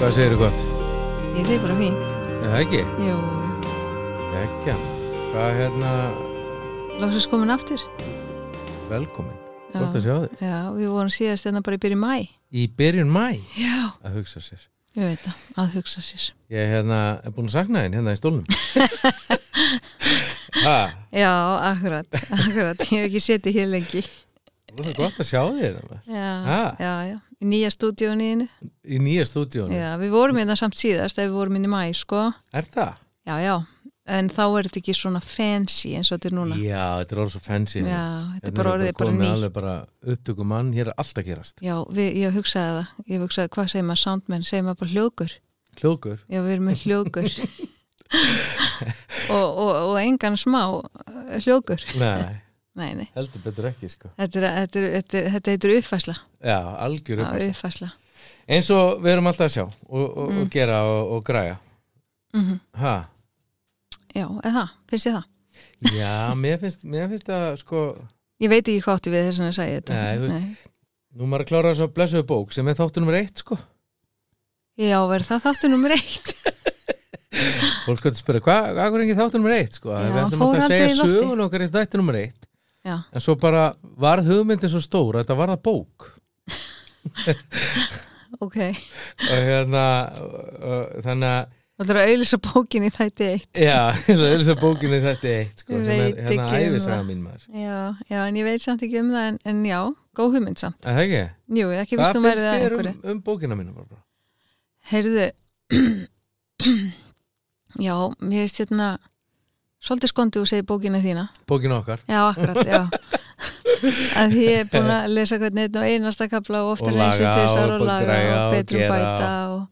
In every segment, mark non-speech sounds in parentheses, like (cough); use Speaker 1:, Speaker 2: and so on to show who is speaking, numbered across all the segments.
Speaker 1: Hvað segir þú gott?
Speaker 2: Ég sé bara fín.
Speaker 1: Er það ekki?
Speaker 2: Jú,
Speaker 1: Ekki. Hvað hérna,
Speaker 2: lóksins komin aftur.
Speaker 1: velkomin.
Speaker 2: Já.
Speaker 1: Gott að sjá þig.
Speaker 2: Já, við vorum síðast enna bara í byrju mæ.
Speaker 1: Í byrjun mæ
Speaker 2: Já,
Speaker 1: að hugsa sér.
Speaker 2: ég veit það, að hugsa sér.
Speaker 1: Ég hérna, er búin að sakna þín hérna
Speaker 2: (laughs)
Speaker 1: í stólnum. ha,
Speaker 2: Já, akkurat, (laughs) akkurat, ég hef ekki setið hér lengi.
Speaker 1: það er gott að sjá þig hérna. maður.
Speaker 2: Já,
Speaker 1: Ha?
Speaker 2: já, já, í nýja stúdíóniðinu.
Speaker 1: Í nýja stúdíónu.
Speaker 2: Já, við vorum hérna samt síðast ef við vorum inn í mæ, sko.
Speaker 1: Er það?
Speaker 2: Já, já, en þá er þetta ekki svona fancy eins og þetta er núna.
Speaker 1: Já, þetta er orðið svo fancy.
Speaker 2: Já,
Speaker 1: hérna.
Speaker 2: þetta er
Speaker 1: Hérna
Speaker 2: bara orðið bara
Speaker 1: komið
Speaker 2: nýtt.
Speaker 1: alveg bara upptöku mann, hér er allt að gerast.
Speaker 2: Já, við, ég hugsaði það. Ég hugsaði, hvað segir maður soundmenn? Segir maður bara hljókur? (laughs)
Speaker 1: Klókur.
Speaker 2: Já, við erum með hljókur. og, og, og engan smá eh, hljókur.
Speaker 1: Nei,
Speaker 2: Nei, nei.
Speaker 1: heldur betur ekki, sko.
Speaker 2: Þetta, er, þetta, er, þetta, er, þetta heitir uppfæsla.
Speaker 1: Já, algjör
Speaker 2: Já,
Speaker 1: upp.
Speaker 2: uppfæsla.
Speaker 1: Eins og við erum alltaf að sjá og, og, og gera og, og græja.
Speaker 2: Mm
Speaker 1: Ha,
Speaker 2: Já, eða það, finnst þið það?
Speaker 1: já, mér finnst, mér finnst að sko,
Speaker 2: Ég veit ekki hvað áttu við þess að ég sagði þetta.
Speaker 1: Nei, þú veist-
Speaker 2: nei.
Speaker 1: nú maður að klára þess að blessuðu bók sem er þáttu nummer eitt sko.
Speaker 2: Já, verður það þáttu nummer eitt?
Speaker 1: Fólk skoður að spyrja, hvað hva, hva er ekki þáttu nummer eitt sko?
Speaker 2: Já,
Speaker 1: Við ætlum
Speaker 2: fór
Speaker 1: alltaf að
Speaker 2: aldrei í
Speaker 1: segja
Speaker 2: loftið.
Speaker 1: sögun okkar í þættu nummer eitt.
Speaker 2: Já,
Speaker 1: En svo bara varð hugmyndin svo stóra, þetta varða bók.
Speaker 2: ok.
Speaker 1: Og hérna, uh, þannig að,
Speaker 2: Það er að auðvisa bókin í þætti eitt.
Speaker 1: já, (laughs) eins og þess að bókinni þetta eitt sko,
Speaker 2: Ég
Speaker 1: sem er
Speaker 2: veit
Speaker 1: hérna
Speaker 2: ekki um
Speaker 1: æfisaga
Speaker 2: það.
Speaker 1: mín maður.
Speaker 2: Já, já, en ég veit samt ekki um það, en, en já, góð hugmynd samt.
Speaker 1: Er Það ekki?
Speaker 2: Jú, ekki
Speaker 1: Hvað
Speaker 2: finnst þú verið
Speaker 1: finnst
Speaker 2: að
Speaker 1: þér
Speaker 2: einhverju.
Speaker 1: um, um bókina mínu? Barbara?
Speaker 2: Heyrðu, (clears throat) já, mér finnst hérna, svolítið skondið og segir bókina þína.
Speaker 1: Bókina okkar
Speaker 2: Já, akkurat,
Speaker 1: (laughs)
Speaker 2: já. að því ég er búin að lesa hvernig einn og einasta kapla og oftar
Speaker 1: Og
Speaker 2: en eins
Speaker 1: laga
Speaker 2: og tvisar
Speaker 1: og
Speaker 2: og laga
Speaker 1: græja og
Speaker 2: og betrum
Speaker 1: gera
Speaker 2: bæta og,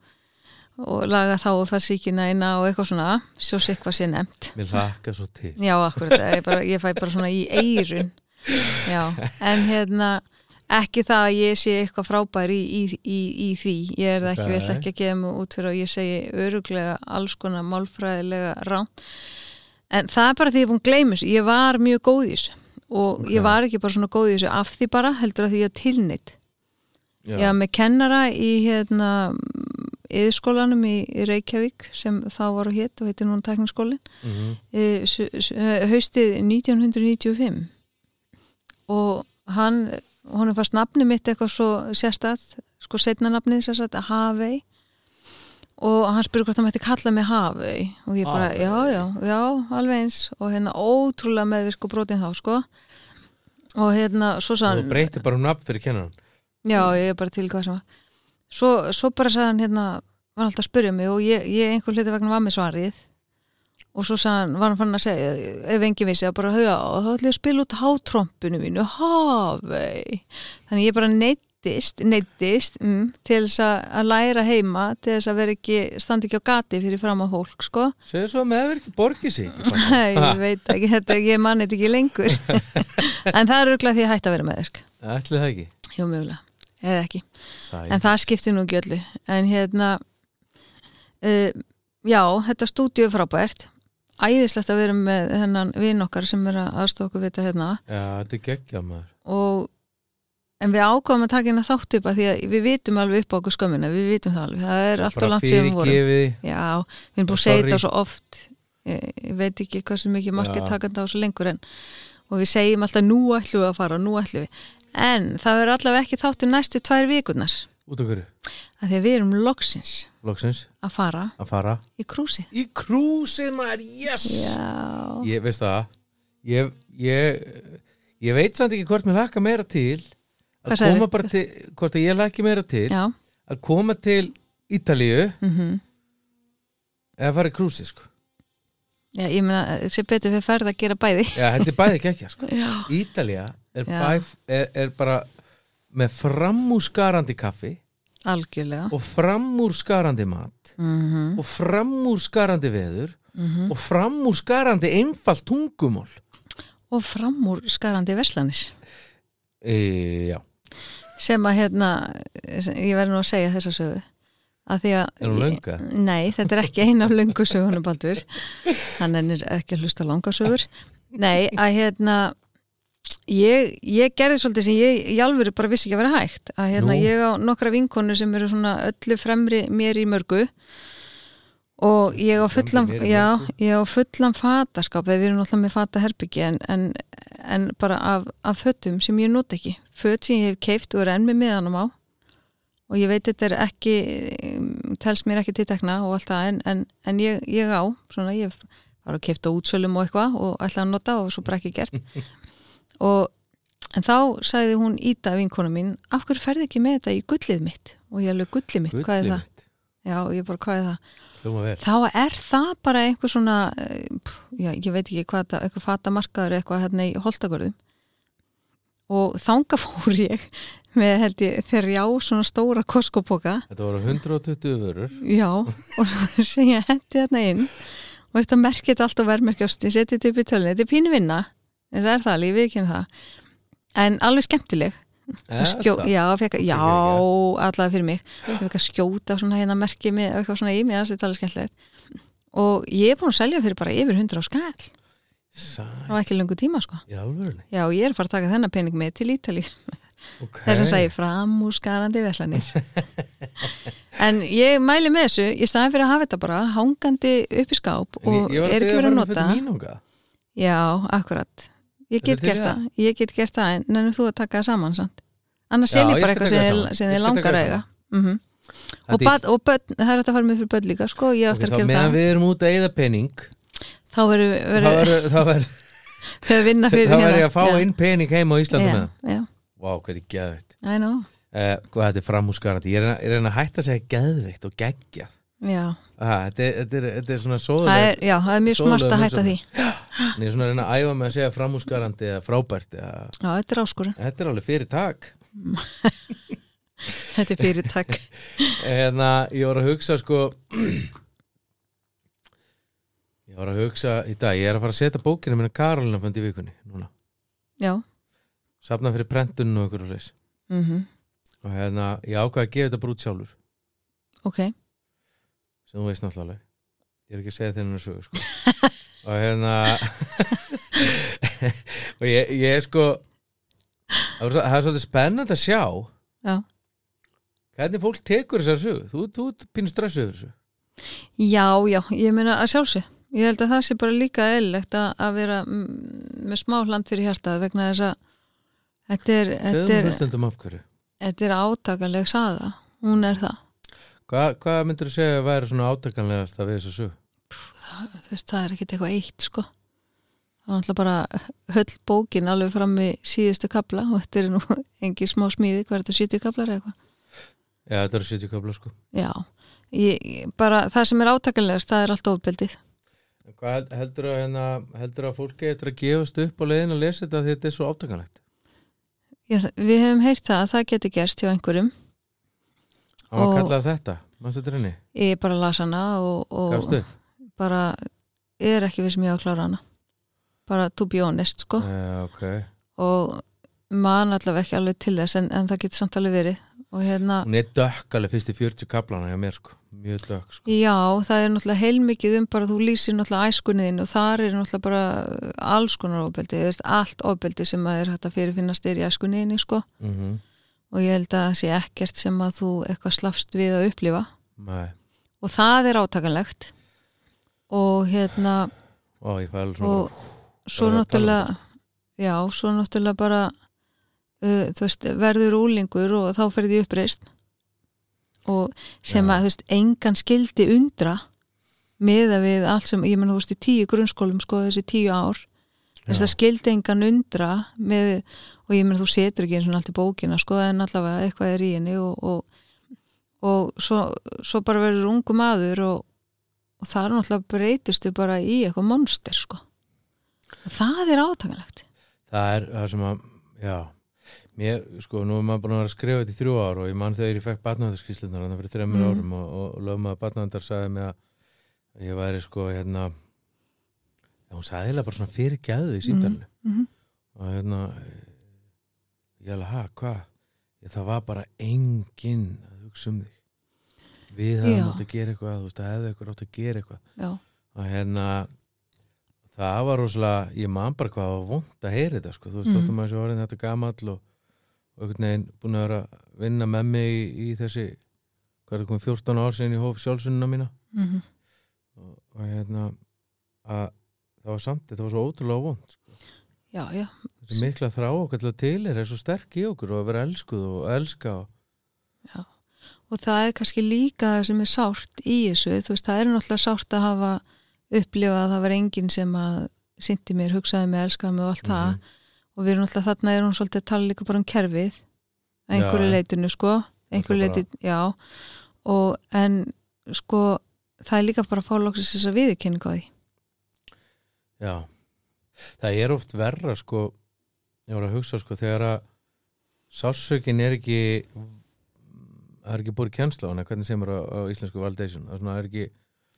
Speaker 2: og laga þá og það síkina eina og eitthvað svona, svo sé hvað sé nefnt.
Speaker 1: Mér hlakka svo til
Speaker 2: Já, akkurat, ég, bara, ég fæ bara svona í eirun. Já, en hérna, ekki það að ég sé eitthvað frábær í, í, í, í því. Ég er það ekki, við ætla
Speaker 1: Nei.
Speaker 2: ekki að gefa mig út fyrir og ég segi öruglega alls konar málfræðilega ránt. En það er bara því ég er búin að gleyma þessu. Ég var mjög góð í þessu og ég var ekki bara svona góð í þessu af því bara heldur að því ég tilnýtt.
Speaker 1: Já,
Speaker 2: Ég var með kennara í hérna yðskólanum í í Reykjavík sem þá var og hétt og heitir núna tekniskólin
Speaker 1: mhm.
Speaker 2: eh, s- s- eh, haustið 1995 og hann honum fannst nafni mitt eitthvað svo sérstætt, sko setna nafnið sérstætt Havei og hann spurði hvort hann mætti kalla mig Havei og ég bara,
Speaker 1: Hafey.
Speaker 2: já, já, já, alveg eins og hérna ótrúlega meðvirk og brotin þá, sko og hérna, svo
Speaker 1: Og
Speaker 2: sagði
Speaker 1: þú
Speaker 2: hann
Speaker 1: breytir bara um nafn fyrir kennan
Speaker 2: Já, ég er bara til hvað sem var. Svo, svo bara sagði hann hérna, var hann alltaf að spyrja mig og ég, ég einhver hluti vegna var með svarið og svo sagði hann, var hann fann að segja, ef enginn vissi að bara höga og þá ætlum ég að spila út hátrompinu mínu, hafei. Þannig ég bara neittist, neittist mm, til þess að, að læra heima, til þess að vera ekki, standa ekki á gati fyrir fram á hólk, sko. (laughs)
Speaker 1: Segðu svo að meðverki borgi sig ekki bara.
Speaker 2: Nei,
Speaker 1: Ha.
Speaker 2: ég veit ekki, þetta, ég manni þetta ekki (laughs) lengur. en það er auðvitað því að hætta að vera með þess.
Speaker 1: Ætli það ekki
Speaker 2: Jú, mögulega, eða ekki.
Speaker 1: Sæ.
Speaker 2: En það skiptir nú ekki öllu. En hérna, uh, já, þetta stúdíu er frábært. Æðislegt að vera með þennan vinn okkar sem er að aðstofa okkur við þetta hérna.
Speaker 1: Já, þetta er geggja maður
Speaker 2: Og, en við ákváðum að taka hérna þátt upp að því að við vitum alveg upp á okkur skömmina, við vitum það alveg. Það er alltaf langt síðan við vorum.
Speaker 1: Fyrirgefiði
Speaker 2: Já, við erum búin að
Speaker 1: Sorry.
Speaker 2: segja þetta svo oft. Ég, ég veit ekki hversu mikið markið
Speaker 1: Já.
Speaker 2: takandi á svo lengur en og við segjum alltaf nú ætlum við að fara, nú ætlum við. En það verður allavega ekki þáttu næstu tvær vikurnar.
Speaker 1: Út okkur,
Speaker 2: að því að við erum loksins
Speaker 1: loksins,
Speaker 2: að fara
Speaker 1: að fara
Speaker 2: í krúsið
Speaker 1: Í krúsið maður, yes
Speaker 2: Já,
Speaker 1: Ég veist það Ég, ég, ég veit samt ekki hvort mér lakka meira til
Speaker 2: Hvað
Speaker 1: Að
Speaker 2: sagðirðu?
Speaker 1: koma bara til Hvort að ég lakki meira til
Speaker 2: já,
Speaker 1: Að koma til Ítalíu
Speaker 2: mm
Speaker 1: Eða fara í krúsið sko
Speaker 2: já ég meina eh, sem betur fyrir ferð að gera bæði
Speaker 1: Já, þetta er bæði geggja sko
Speaker 2: Já,
Speaker 1: Ítalía er,
Speaker 2: Já.
Speaker 1: bæ, er, er bara með framúrskarandi kaffi
Speaker 2: algjörlega
Speaker 1: og framúrskarandi mat
Speaker 2: mm -hmm.
Speaker 1: og framúrskarandi veður
Speaker 2: Mhm.
Speaker 1: og framúrskarandi einfalt tungumól
Speaker 2: og framúr skarandi verslanir
Speaker 1: e, Já,
Speaker 2: sem að hérna sem- ég verður nú að segja þessa sögu að því að
Speaker 1: er hún lönga?
Speaker 2: Nei, þetta er ekki eina af löngu sögunum Baldur, hann er ekki að hlusta langa sögur Nei, að hérna ég, ég gerði svolítið sem ég í alvöru bara vissi ekki að vera hægt að hérna,
Speaker 1: Nú.
Speaker 2: ég á nokkra vinkonu sem eru svona öllu fremri mér í mörgu og ég á fullan
Speaker 1: Fremri mér í
Speaker 2: já,
Speaker 1: mörgu.
Speaker 2: ég á fullan fataskap eða við erum náttúrulega með fata herbyggi en, en, en bara af, af fötum sem ég nota ekki föt sem ég hef keift og er enn með miðanum á og ég veit þetta er ekki um, telst mér ekki tiltekna og allt það en, en, en ég, ég á svona ég var að keipta útsölum og eitthvað og ætlaði að nota og svo bara ekki gert og en þá sagði hún Íta vinkonu mín, af hverju ferði ekki með þetta í gullið mitt og ég alveg gullið mitt, hvað er það?
Speaker 1: mitt,
Speaker 2: Já, og ég bara, hvað er það?
Speaker 1: hljóma vel
Speaker 2: þá er það bara einhver svona eh, pff, já, ég veit ekki hvað það, eitthvað fatamarkaður eitthvað hérna í holtagörðum og þanga (laughs) fór ég með held ég þrjá svona stóra koskopoka
Speaker 1: Þetta voru 120 vörur
Speaker 2: já, og svo (laughs) sem ég hendi þarna inn og þetta merkið þetta allt og vermerkjast ég seti þetta upp í tölunni, þetta er pínu vinna en það er það, lífið ekki en það en alveg skemmtileg
Speaker 1: Er
Speaker 2: Að skjó,
Speaker 1: það?
Speaker 2: já, fekk, já,
Speaker 1: ekki.
Speaker 2: allavega fyrir mig ég fekk að skjóta svona hérna merki með eitthvað svona í mig, það er alveg skemmtilegt og ég er búin að selja fyrir bara yfir 100 á skall, það
Speaker 1: Sæ,
Speaker 2: var ekki lengur tíma sko.
Speaker 1: í alvörunni
Speaker 2: já, og ég er að fara að taka þennan pening með til Ítali
Speaker 1: okay.
Speaker 2: þess að sagði fram úr skarandi veslanir en ég mæli með þessu ég staði fyrir að hafa þetta bara hangandi upp í skáp
Speaker 1: En
Speaker 2: og
Speaker 1: ég, ég var
Speaker 2: er ekki verið að nota
Speaker 1: mínunga.
Speaker 2: já, akkurat ég
Speaker 1: Þetta
Speaker 2: get
Speaker 1: til
Speaker 2: gert
Speaker 1: í það?
Speaker 2: það, ég get gert það en nennir þú að taka það saman samt annars
Speaker 1: Já,
Speaker 2: sel ég
Speaker 1: ég
Speaker 2: bara
Speaker 1: skal
Speaker 2: eitthvað
Speaker 1: taka það
Speaker 2: sem
Speaker 1: saman.
Speaker 2: sem
Speaker 1: Ég
Speaker 2: þið
Speaker 1: skal taka
Speaker 2: langar að
Speaker 1: það
Speaker 2: eiga
Speaker 1: saman.
Speaker 2: Mhm. og,
Speaker 1: Það er
Speaker 2: bad, og börn, það er hægt að fara með fyrir börn líka sko, ég á
Speaker 1: Ok,
Speaker 2: eftir
Speaker 1: þá
Speaker 2: að gera
Speaker 1: meðan
Speaker 2: það
Speaker 1: við erum út að eyða penning
Speaker 2: þá verður
Speaker 1: þá
Speaker 2: (laughs) verður-
Speaker 1: er- þá er
Speaker 2: þau að vinna
Speaker 1: þá
Speaker 2: fyrir hérna.
Speaker 1: er ég að fá
Speaker 2: Já.
Speaker 1: inn penning heima á Íslandi
Speaker 2: já,
Speaker 1: með það
Speaker 2: já,
Speaker 1: Vá, hvað er geðveikt
Speaker 2: I know
Speaker 1: uh, Hvað þetta er framhúsgarandi Ég er að- ég er að reyna að hætta að segja geðveikt og geggja
Speaker 2: já,
Speaker 1: ah, þetta, er- þetta, er- þetta er svona
Speaker 2: það
Speaker 1: sóðuleg
Speaker 2: er, já, það er mjög
Speaker 1: Sóðuleg
Speaker 2: smart að hætta því
Speaker 1: hugsun. Ég er svona að reyna að æfa mig að segja framhúsgarandi eða frábært eða,
Speaker 2: já, þetta er áskur,
Speaker 1: Þetta er alveg fyrir tak
Speaker 2: þetta er fyrir takk
Speaker 1: (laughs) en að ég var að hugsa sko (clears throat) ég var að hugsa í dag, ég er að fara að setja bókina minna Karolina fændi í vikunni núna,
Speaker 2: já,
Speaker 1: safna fyrir prentun og ykkur og leys
Speaker 2: mhm,
Speaker 1: og hérna, ég ákvað að gefa þetta brút sjálfur
Speaker 2: ok
Speaker 1: sem þú veist náttúrulega ég er ekki að segja þennan að
Speaker 2: (laughs)
Speaker 1: sögu sko. og hérna (laughs) og ég, ég er sko það er svo- það er svolítið spennandi að sjá
Speaker 2: Já.
Speaker 1: hvernig fólk tekur þessar sögu þú, þú ert pínu stressu yfir þessu
Speaker 2: Já, já, ég meina að sjálfsög. Ég held að það sé bara líka eðlilegt að, að vera mm, með smá hland fyrir hjartað vegna þess að þetta er, þetta
Speaker 1: segðum
Speaker 2: er,
Speaker 1: við stundum af hverju
Speaker 2: þetta er átakaleg saga. Hún er það.
Speaker 1: Hva, hvað myndir þú segja að væri svona átakanlegast að við þessu sög?
Speaker 2: það þú veist, það er ekkit eitthvað eitt, sko. Það var náttúrulega bara höll bókin alveg fram í síðustu kapla og þetta er nú (laughs) engin smá smíði, hvað er þetta, 70 kaplar eða eitthvað?
Speaker 1: Já, þetta eru 70 köfla sko.
Speaker 2: Já, ég, ég- bara það sem er átakalegast, það er allt ofbeldið.
Speaker 1: En Hvað held- heldurðu að, hérna, heldur að fólki eftir að gefast upp á leiðin að lesa þetta því þetta er svo átakanlegt?
Speaker 2: Ég, við hefum heyrt það að það geti gerst hjá einhverjum
Speaker 1: Hann var
Speaker 2: Og-
Speaker 1: kallað þetta, mannstu þetta henni?
Speaker 2: Ég bara las hana og, og (laughs)
Speaker 1: Gafstu?
Speaker 2: bara er ekki við sem ég á að klára hana. Bara to be honest, sko.
Speaker 1: Uh, ok.
Speaker 2: Og man allavega ekki alveg til þess en, en það getur samt alveg verið. Og hérna,
Speaker 1: Hún er dökk alveg fyrst í 40 kaplana hjá mér sko, mjög dökk sko.
Speaker 2: já, það er náttúrulega heilmikið um bara þú lýsir náttúrulega æskunniðin og þar er náttúrulega bara alls konar ofbeldi, þú veist, allt ofbeldi sem að er hægt að fyrirfinnast er í æskunniðinni, sko.
Speaker 1: Mm -hmm.
Speaker 2: Og ég held að það sé ekkert sem að þú eitthvað slafst við að upplifa.
Speaker 1: Nei,
Speaker 2: Og það er átakanlegt. Og hérna,
Speaker 1: ó, ég fæ alveg svona,
Speaker 2: og svo
Speaker 1: bara að tala um
Speaker 2: náttúrulega já, svo náttúrulega bara uh, þú veist, verður úlingur og þá ferði uppreist og sem
Speaker 1: Já.
Speaker 2: að, þú veist, engan skildi undra meða við allt sem, ég menn, þú veist, í tíu grunnskólum sko, þessi tíu ár
Speaker 1: Já.
Speaker 2: þess að skildi engan undra með, og ég menn, þú setur ekki eins og allt í bókina, sko, en allavega eitthvað er í henni og, og, og svo, svo bara verður ungu maður og, og það er náttúrulega breytistu bara í eitthvað monster sko. það er átakanlegt
Speaker 1: það er það sem að, já, mér sko, nú er maður búin að vera að skrifa þetta í þrjú ár og ég man þegar ég fekk batnaðarskíslunar þannig fyrir þreymur
Speaker 2: Mhm.
Speaker 1: árum og, og lögmaður batnaðar sagði mig að ég væri sko, hérna, já, hún sagði heila bara svona fyrir gæðu í símdalinu.
Speaker 2: mm -hmm.
Speaker 1: og hérna eh, ég alveg, ha, hvað? Ég, það var bara enginn að hugsa um þig við
Speaker 2: Já.
Speaker 1: hefðum átt að gera eitthvað þú veist, það hefði eitthvað átt að gera eitthvað
Speaker 2: já,
Speaker 1: og hérna það var rosalega, ég man bara hvað það var vond að heyra þetta sko, þú veist,
Speaker 2: Mhm.
Speaker 1: þóttum að þessi orðin þetta gamall og, og einhvern veginn búin að vera að vinna með mig í, í þessi hvað er það komið 14 ár sinni í hóf sjálfsunna mína
Speaker 2: mm -hmm.
Speaker 1: og, og hérna að það var samt, þetta var svo ótrúlega vond sko.
Speaker 2: já, já,
Speaker 1: þessi mikla þrá okkar til að til er svo sterk í okkur og að vera elskuð og elska og,
Speaker 2: og það er kannski líka það sem er sárt í þessu þú veist, það er náttúrulega sárt að hafa upplifað að það var enginn sem að syndi mér, hugsaði mér, elskaði mig og allt það
Speaker 1: Mhm.
Speaker 2: og við erum náttúrulega þarna er hún svolítið að tala líka bara um kerfið að einhverju
Speaker 1: Já.
Speaker 2: leitinu sko einhverju
Speaker 1: Náttúrulega
Speaker 2: leiti, já og en sko það er líka bara að fá loksins þess að viðurkenningu á því
Speaker 1: Já, það er oft verra sko, ég var að hugsa sko þegar að sársökin er ekki það er ekki búið kjensla á hana, hvernig sem er á, á íslensku valdeisjun, það er svona, það er ekki,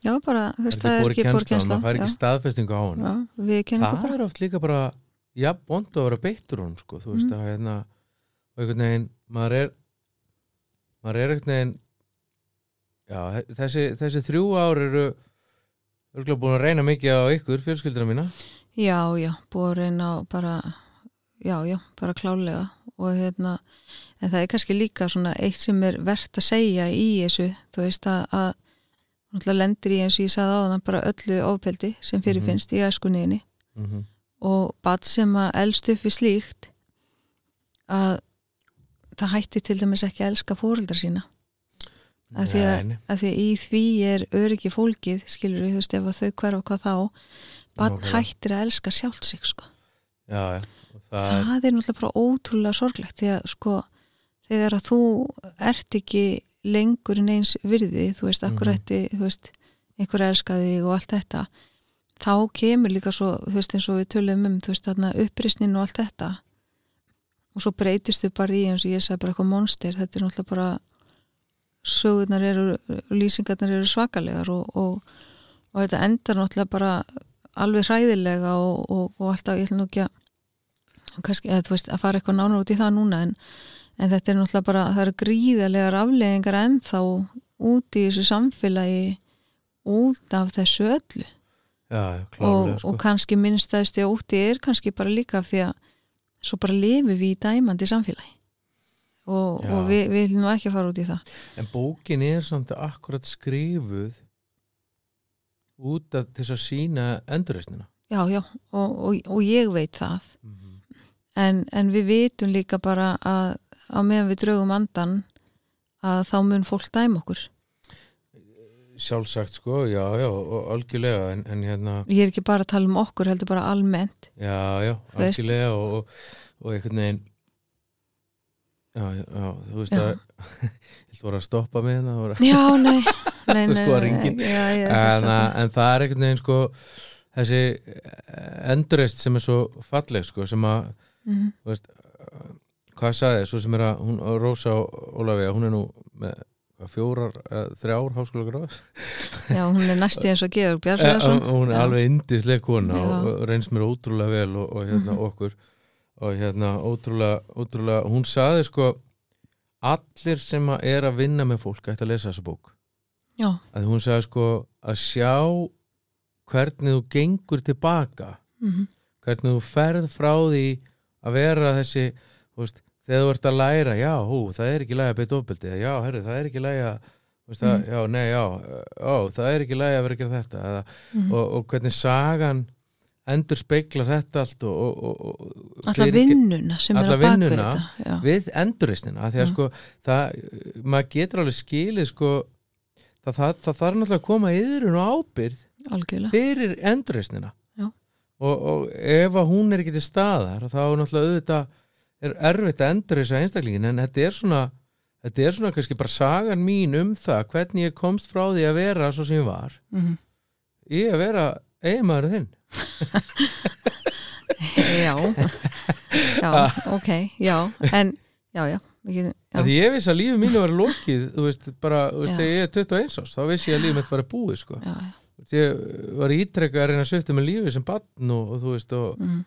Speaker 2: já bara, þú veist, það er
Speaker 1: borið
Speaker 2: ekki
Speaker 1: kennsla á
Speaker 2: borgensla
Speaker 1: hana, það er ekki staðfestingu á hana
Speaker 2: viðurkenningu
Speaker 1: það
Speaker 2: bara
Speaker 1: er oft líka bara já, bónd að vera beittur hún sko, þú veist
Speaker 2: Mm.
Speaker 1: að hérna, og einhvern veginn maður er maður er einhvern veginn já, þessi, þessi þrjú ár eru örgulega búin að reyna mikið á ykkur, fjölskyldina mína
Speaker 2: já, já, borin á bara já, já, bara klálega og hérna, en það er kannski líka svona eitt sem er verðt að segja í þessu, þú veist að, að náttúrulega lendir í eins og ég sagði á þann bara öllu ofbeldi sem fyrirfinnst í æskunniðinni
Speaker 1: mm -hmm.
Speaker 2: og bat sem að elst upp við slíkt að það hætti til dæmis ekki að elska fóreldra sína Af því að- að því að í því er öryggi fólkið, skilur við, þú veist, ef að þau hverfa hvað þá, bat
Speaker 1: Nákvæmlega.
Speaker 2: hættir að elska sjálf sig, sko.
Speaker 1: já, já. Og það,
Speaker 2: Það, er náttúrulega bara ótrúlega sorglegt því að, sko, þegar að þú ert ekki lengur en eins virði, þú veist, akkur
Speaker 1: Mhm.
Speaker 2: ætti, þú veist, einhver elska þig og allt þetta, þá kemur líka svo, þú veist, eins og við tölum um, þú veist, þarna uppristnin og allt þetta og svo breytist þau bara í eins og ég sagði bara eitthvað monster, þetta er náttúrulega bara sögurnar eru, lýsingarnar eru svakalegar og, og, og þetta endar náttúrulega bara alveg hræðilega og, og, og alltaf, ég ætla nú ekki að kannski, eða þú veist, að fara eitthvað nánar út í það núna en, en þetta er náttúrulega bara það eru gríðarlegar afleðingar ennþá út í þessu samfélagi út af þessu öllu
Speaker 1: já, já,
Speaker 2: og,
Speaker 1: klárlega, sko.
Speaker 2: og kannski minnstæðist ég úti er kannski bara líka því að svo bara lifum við í dæmandi samfélagi og,
Speaker 1: Já.
Speaker 2: og við, við viljum nú ekki að fara út í það
Speaker 1: en bókin er samt akkurat skrifuð út af til þess að sína endurreisnina
Speaker 2: já, já, og, og, og ég veit það
Speaker 1: mm -hmm.
Speaker 2: en, en við vitum líka bara að á meðan við draugum andan að þá mun fólk dæma okkur
Speaker 1: sjálfsagt sko, já, já, og algjörlega en, en hérna,
Speaker 2: ég er ekki bara að tala um okkur heldur bara almennt
Speaker 1: já, já
Speaker 2: Þú veist.
Speaker 1: algjörlega og, og, og einhvern veginn já, já, já, þú veist
Speaker 2: Já.
Speaker 1: að (laughs) þetta voru að stoppa mig hérna, það voru
Speaker 2: já,
Speaker 1: (laughs)
Speaker 2: nei, nei,
Speaker 1: Þetta
Speaker 2: nei,
Speaker 1: er sko að
Speaker 2: nei,
Speaker 1: ringin.
Speaker 2: nei, já, ég er ekki að
Speaker 1: en,
Speaker 2: stoppa.
Speaker 1: að- en það er einhvern veginn sko þessi eh, endurreisn sem er svo falleg sko, sem að
Speaker 2: Mhm.
Speaker 1: hvað sagði, svo sem er að hún, Rósa Ólafi, hún er nú með hvað, fjórar, uh, þrjár háskóla gráð
Speaker 2: já, hún er næstíð eins og Georg Bjarnsson
Speaker 1: Eh, hún er
Speaker 2: Já.
Speaker 1: alveg indisleg kona
Speaker 2: Já. Mhm.
Speaker 1: og, og reynst mér ótrúlega vel og, og hérna okkur og hérna ótrúlega, ótrúlega hún sagði sko allir sem að er að vinna með fólk ætti að lesa þessa bók
Speaker 2: já,
Speaker 1: að hún sagði sko að sjá hvernig þú gengur tilbaka
Speaker 2: mhm,
Speaker 1: hvernig þú ferð frá því að vera þessi þú veist, þegar þú ert að læra, já, hú, það er ekki lægi að beita ofbeldi, já, herru, það er ekki lægi að þú veist, það,
Speaker 2: Mhm.
Speaker 1: já, nei, já, ó, það er ekki lægi að vera að gera þetta eða,
Speaker 2: mhm.
Speaker 1: og, og hvernig sagan endur speikla þetta allt og, og, og, og
Speaker 2: alla
Speaker 1: fyrir-
Speaker 2: vinnuna sem er á
Speaker 1: alla
Speaker 2: bakvið
Speaker 1: vinnuna.
Speaker 2: þetta já,
Speaker 1: við endurreisnina af því að
Speaker 2: Mhm.
Speaker 1: sko, það, maður getur alveg skilið sko, það, það, það þarf náttúrulega að koma yðurinn og ábyrð (laughs)
Speaker 2: algjörlega
Speaker 1: fyrir endurreisnina
Speaker 2: Já.
Speaker 1: og, og ef að hún er ekki til staðar þá er náttúrulega auðvitað er erfitt að endurreisa einstaklingin en þetta er svona þetta er svona kannski bara sagan mín um það hvernig ég komst frá því að vera svo sem ég var
Speaker 2: Mhm.
Speaker 1: ég að vera eiginmaður þinn
Speaker 2: já
Speaker 1: (laughs)
Speaker 2: já, ok, já en, já, já, ekki,
Speaker 1: að
Speaker 2: já
Speaker 1: Ah. því ég vissi að lífið mínu var lokið þú veist, bara, þú veist,
Speaker 2: Já.
Speaker 1: þegar ég er 21 árs þá vissi ég að lífið mitt var að búið sko.
Speaker 2: já,
Speaker 1: Þú veist, ég var ítrekka að reyna að svifta með lífið sem barn og, og þú veist og
Speaker 2: mhm.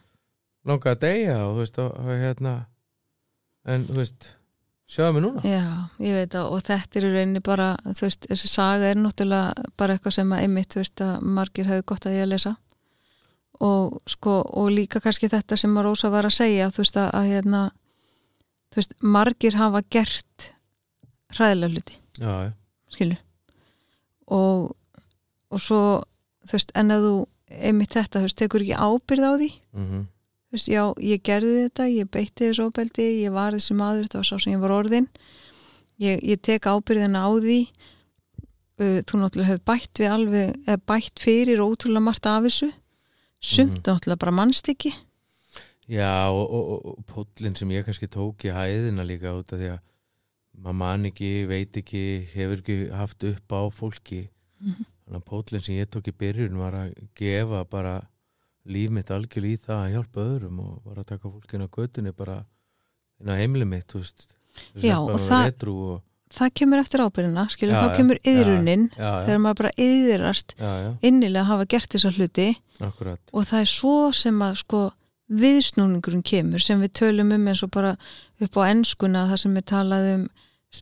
Speaker 1: langaði að deyja og þú veist og, og hérna en þú veist, sjáðu mig núna
Speaker 2: Já, ég veit að og þetta er í rauninni bara, þú veist, þessi saga er náttúrulega bara eitthvað sem að einmitt, þú veist, að margir hefur gott að ég að lesa og, sko, og líka kannski þetta sem að Rósa var að segja þú veist að, að hérna, þú veist, margir hafa gert hræðilega hluti,
Speaker 1: já, já,
Speaker 2: skilu og, og svo þú veist, en að þú einmitt þetta, þú veist, tekur ekki ábyrð á því
Speaker 1: mm
Speaker 2: þú veist, já, ég gerði þetta, ég beitti þessu óbeldi, ég var þessi maður, þetta var sá sem ég var orðin ég, ég tek ábyrðina á því Uh, þú náttúrulega hefur bætt við alveg eða bætt fyrir ótrúlega margt af þessu sumt
Speaker 1: Mhm.
Speaker 2: náttúrulega bara mannst ekki
Speaker 1: já og, og, og, og póllin sem ég kannski tók í hæðina líka út af því að maður man ekki, veit ekki, hefur ekki haft upp á fólki
Speaker 2: Mhm.
Speaker 1: þannig að póllin sem ég tók í byrjun var að gefa bara líf mitt algjörlega í það að hjálpa öðrum og var að taka fólkinu á götunni bara inn á heimli mitt, þú veist þú veist,
Speaker 2: Já,
Speaker 1: hjálpa
Speaker 2: og
Speaker 1: mér
Speaker 2: það-
Speaker 1: edrú og,
Speaker 2: það kemur eftir ábyrðina, skilur,
Speaker 1: Já,
Speaker 2: þá
Speaker 1: já,
Speaker 2: kemur
Speaker 1: já,
Speaker 2: yðrunin
Speaker 1: já, já,
Speaker 2: þegar maður bara yðrast
Speaker 1: já, já,
Speaker 2: innilega að hafa gert þessa hluti
Speaker 1: akkurat
Speaker 2: og það er svo sem að sko viðsnúningurinn kemur sem við tölum um eins og bara upp á enskuna það sem við talaðum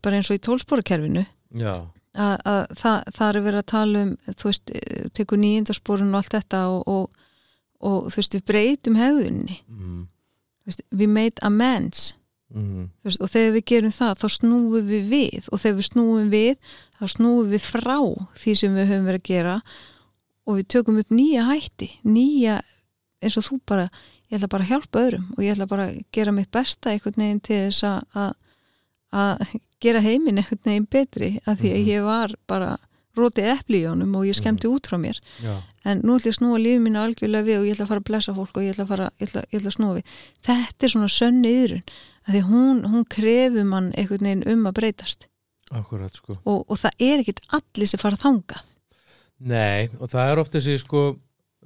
Speaker 2: bara eins og í tólsporakerfinu
Speaker 1: já,
Speaker 2: að, að það, það er verið að tala um þú veist, tekur nýjindarsporun og allt þetta og, og, og þú veist, við breytum hegðunni
Speaker 1: mm,
Speaker 2: Þú veist, we made amends
Speaker 1: mm,
Speaker 2: Þú veist, og þegar við gerum það þá snúum við við og þegar við snúum við þá snúum við frá því sem við höfum verið að gera og við tökum upp nýja hætti nýja, eins og þú bara ég ætla bara að hjálpa öðrum og ég ætla bara að gera mitt besta einhvern veginn til þess að- að að gera heiminn einhvern veginn betri af því
Speaker 1: Mhm.
Speaker 2: að ég var bara rótið epli í honum og ég skemmti út frá mér
Speaker 1: já,
Speaker 2: en nú ætla ég að snúa lífið mínu algjörlega við og ég ætla að fara að blessa fólk og ég ætla að, fara, ég ætla, ég ætla að snúa við þetta er svona sönni yðrun að því hún, hún krefur mann einhvern veginn um að breytast
Speaker 1: akkurat sko
Speaker 2: og, og það er ekkit allir sem fara þangað
Speaker 1: Nei, og það er oft þessi sko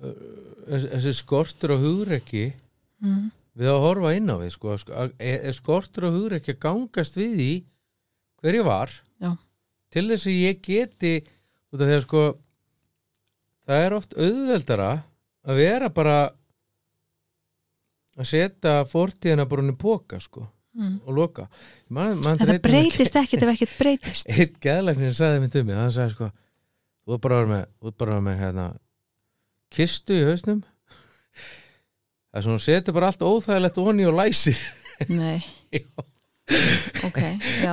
Speaker 1: uh, þessi þessi skortur á hugrekki
Speaker 2: mm.
Speaker 1: við að horfa inn á við sko, að- að- er, er skortur á hugrekki að gangast við í hver ég var
Speaker 2: Já.
Speaker 1: til þess að ég geti út af því að sko það er oft auðveldara að vera bara að setja fortíðina bara unni póka sko
Speaker 2: Mm.
Speaker 1: og loka man, man
Speaker 2: en það breytist ekkit ef ekkit
Speaker 1: (laughs)
Speaker 2: breytist
Speaker 1: einn geðlæknir sagði mér til mig hann sagði sko þú er bara að vera með, þú ert bara að vera með hérna, kistu í hausnum það er svona setur bara allt óþægilegt onni og læsir
Speaker 2: nei, ok
Speaker 1: (laughs)
Speaker 2: já.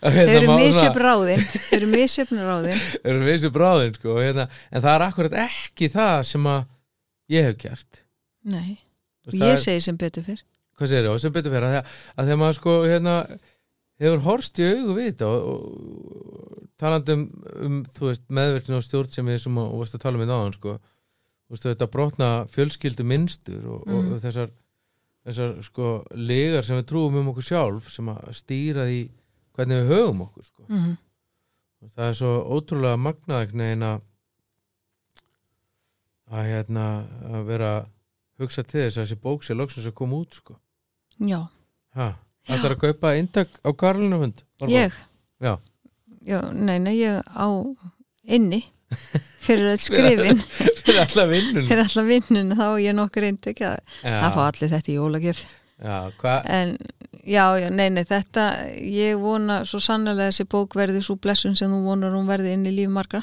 Speaker 1: þeir
Speaker 2: þau eru misjöfn ráðin þau eru misjöfn ráðin
Speaker 1: þeir eru vissi bráðin sko, og hérna, en það er akkurat ekki það sem að ég hef gert
Speaker 2: nei,
Speaker 1: Þú
Speaker 2: og
Speaker 1: veist, það
Speaker 2: ég
Speaker 1: er-
Speaker 2: segi sem betur fyrr
Speaker 1: hvað segir það, sem betur fyrir að, því að- að þegar maður sko hérna, hefur horst í augu við þetta og, og talandi um, um þú veist, meðverkni og stjórn sem við sem að, og varst að tala um í náðan sko þú veist, þetta brotna fjölskyldu minnstur og,
Speaker 2: Mhm.
Speaker 1: og þessar þessar sko legar sem við trúum um okkur sjálf sem að stýra því hvernig við höfum okkur sko
Speaker 2: mm.
Speaker 1: það er svo ótrúlega magnaðegnin að að hérna að vera hugsa til þess að þessi bók sé loksins að koma út sko
Speaker 2: já,
Speaker 1: Hæ? Það er að kaupa eintak á Karlunumund?
Speaker 2: ég
Speaker 1: Já.
Speaker 2: já, nei, nei, ég á inni
Speaker 1: (laughs)
Speaker 2: fyrir að skrifin
Speaker 1: Fyrir alla vinnun.
Speaker 2: fyrir alla vinnun þá á ég nokkur eintek að það fá allir þetta í jólagjöf
Speaker 1: Já, hvað?
Speaker 2: en já, já, nei, nei, þetta ég vona svo sannlega þessi bók verði svo blessun sem þú vonar hún verði inn í líf margra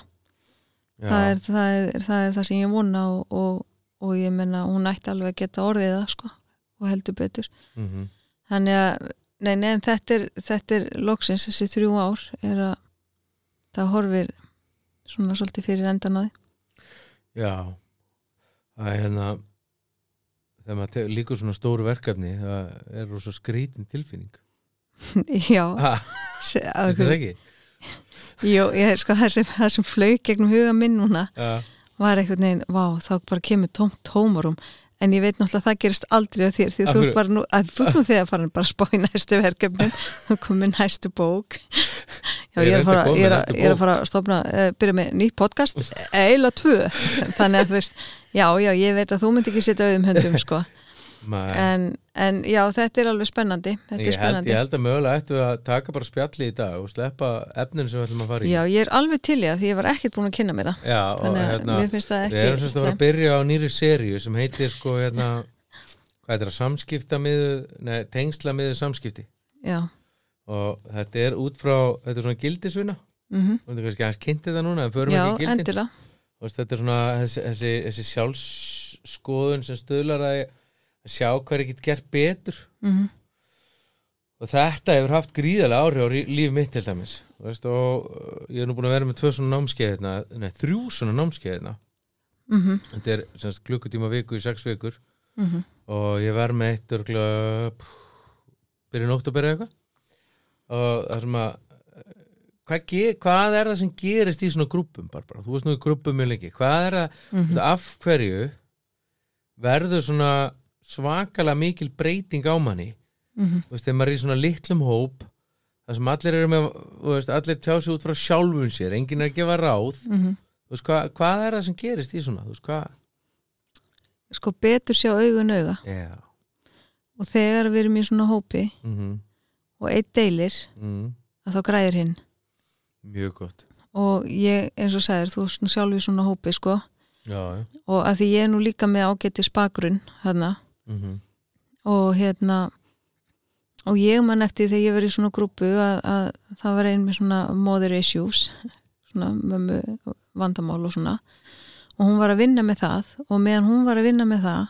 Speaker 2: það
Speaker 1: Já,
Speaker 2: er það, er, það er það sem ég vona og, og, og ég menna hún ætti alveg að geta orðið það sko og heldur betur
Speaker 1: mhm,
Speaker 2: þannig að, nei, nei, en þetta er, þetta er loksins þessi þrjú ár er að það horfir svona svolítið fyrir endan á því (laughs)
Speaker 1: já. Það er hérna, þegar maður te- líkur svona stóru verkefni, það er rosa skrítin tilfinning.
Speaker 2: já,
Speaker 1: Ha,
Speaker 2: se- að-
Speaker 1: (laughs) þetta er ekki?
Speaker 2: jú, ég, sko, það sem, það sem flaug gegnum huga minn núna
Speaker 1: Já,
Speaker 2: var einhvern veginn, vá, þá bara kemur tómt tómarum, en ég veit náttúrulega að það gerist aldrei á þér, því
Speaker 1: Af
Speaker 2: þú ert
Speaker 1: hverju?
Speaker 2: bara nú, að þú ert nú þegar farin bara að spá í næstu (laughs) verkefnin og komið næstu bók Já,
Speaker 1: Ég er
Speaker 2: ég er, að
Speaker 1: reyndar
Speaker 2: fara,
Speaker 1: komin
Speaker 2: ég, er
Speaker 1: næstu
Speaker 2: að, ég er
Speaker 1: bók.
Speaker 2: að fara að stopna, uh, byrja með nýtt podcast, eiginlega tvö þannig að þú veist, já, já, ég veit að þú myndi ekki setja auðum höndum,
Speaker 1: (laughs)
Speaker 2: sko
Speaker 1: maður.
Speaker 2: en, en já, þetta er alveg spennandi Eh, þetta er
Speaker 1: Ég held, ég
Speaker 2: spennandi
Speaker 1: held að mögulega ættu að taka bara spjalli í dag og sleppa efnin sem við ætlum að fara í.
Speaker 2: Já, ég er alveg til í það, því ég var ekkert búin að kynna mér það
Speaker 1: Já, og
Speaker 2: þannig að
Speaker 1: hérna,
Speaker 2: mér finnst það
Speaker 1: við
Speaker 2: ekki
Speaker 1: erum semst að fara
Speaker 2: slæmt.
Speaker 1: að byrja á nýri seríu sem heitir sko hérna, hvað heitir það, samskipta miðu, neða, tengsla miðu samskipti.
Speaker 2: Já,
Speaker 1: og þetta er út frá þetta er svona gildisvinna,
Speaker 2: mhm
Speaker 1: þú veist kannski aðeins kynnti það núna en förum
Speaker 2: Já,
Speaker 1: ekki í gildin
Speaker 2: endilega
Speaker 1: Þú veist, þetta er svona þessi, þessi, þessi sjálfsskoðun sem stuðlar að að sjá hvað er ekki gert betur
Speaker 2: mm
Speaker 1: og þetta hefur haft gríðarlega áhrif á rí- líf mitt til dæmis Þú veist, og uh, ég er nú búin að vera með tvö svona námskeiðina nei, þrjú svona hérna. námskeiðina
Speaker 2: -hmm.
Speaker 1: þetta er semst klukkutíma viku í sex vikur
Speaker 2: Mm -hmm.
Speaker 1: og ég var með eitt örgla byrjun oktober eða eitthvað og það sem að hvað, ge- hvað er það sem gerist í svona grúppum Barbara, þú veist nú í grúppum mjög lengi hvað er það,
Speaker 2: Mm
Speaker 1: mm. af hverju verður svona svakalega mikil breyting á manni
Speaker 2: -hmm.
Speaker 1: þú veist, þegar maður er í svona litlum hóp það sem allir eru með, þú veist, allir tjá sig út frá sjálfun sér, enginn er að gefa ráð
Speaker 2: mhm.
Speaker 1: þú veist, hvað, hvað er það sem gerist í svona, þú veist, hvað
Speaker 2: Sko betur sjá augun auga
Speaker 1: já,
Speaker 2: og þegar við erum í svona hópi
Speaker 1: mhm,
Speaker 2: og einn deilir
Speaker 1: mhm
Speaker 2: að þá græðir hinn
Speaker 1: Mjög gott
Speaker 2: og ég eins og sagðir þú ert nú sjálf í svona hópi sko
Speaker 1: Já, já
Speaker 2: og að því ég er nú líka með ágæti spagrun hérna
Speaker 1: mm -hmm.
Speaker 2: og hérna og ég man eftir þegar ég verið í svona grúpu að, að það var ein með svona mother issues svona mömmu vandamál og svona og hún var að vinna með það og meðan hún var að vinna með það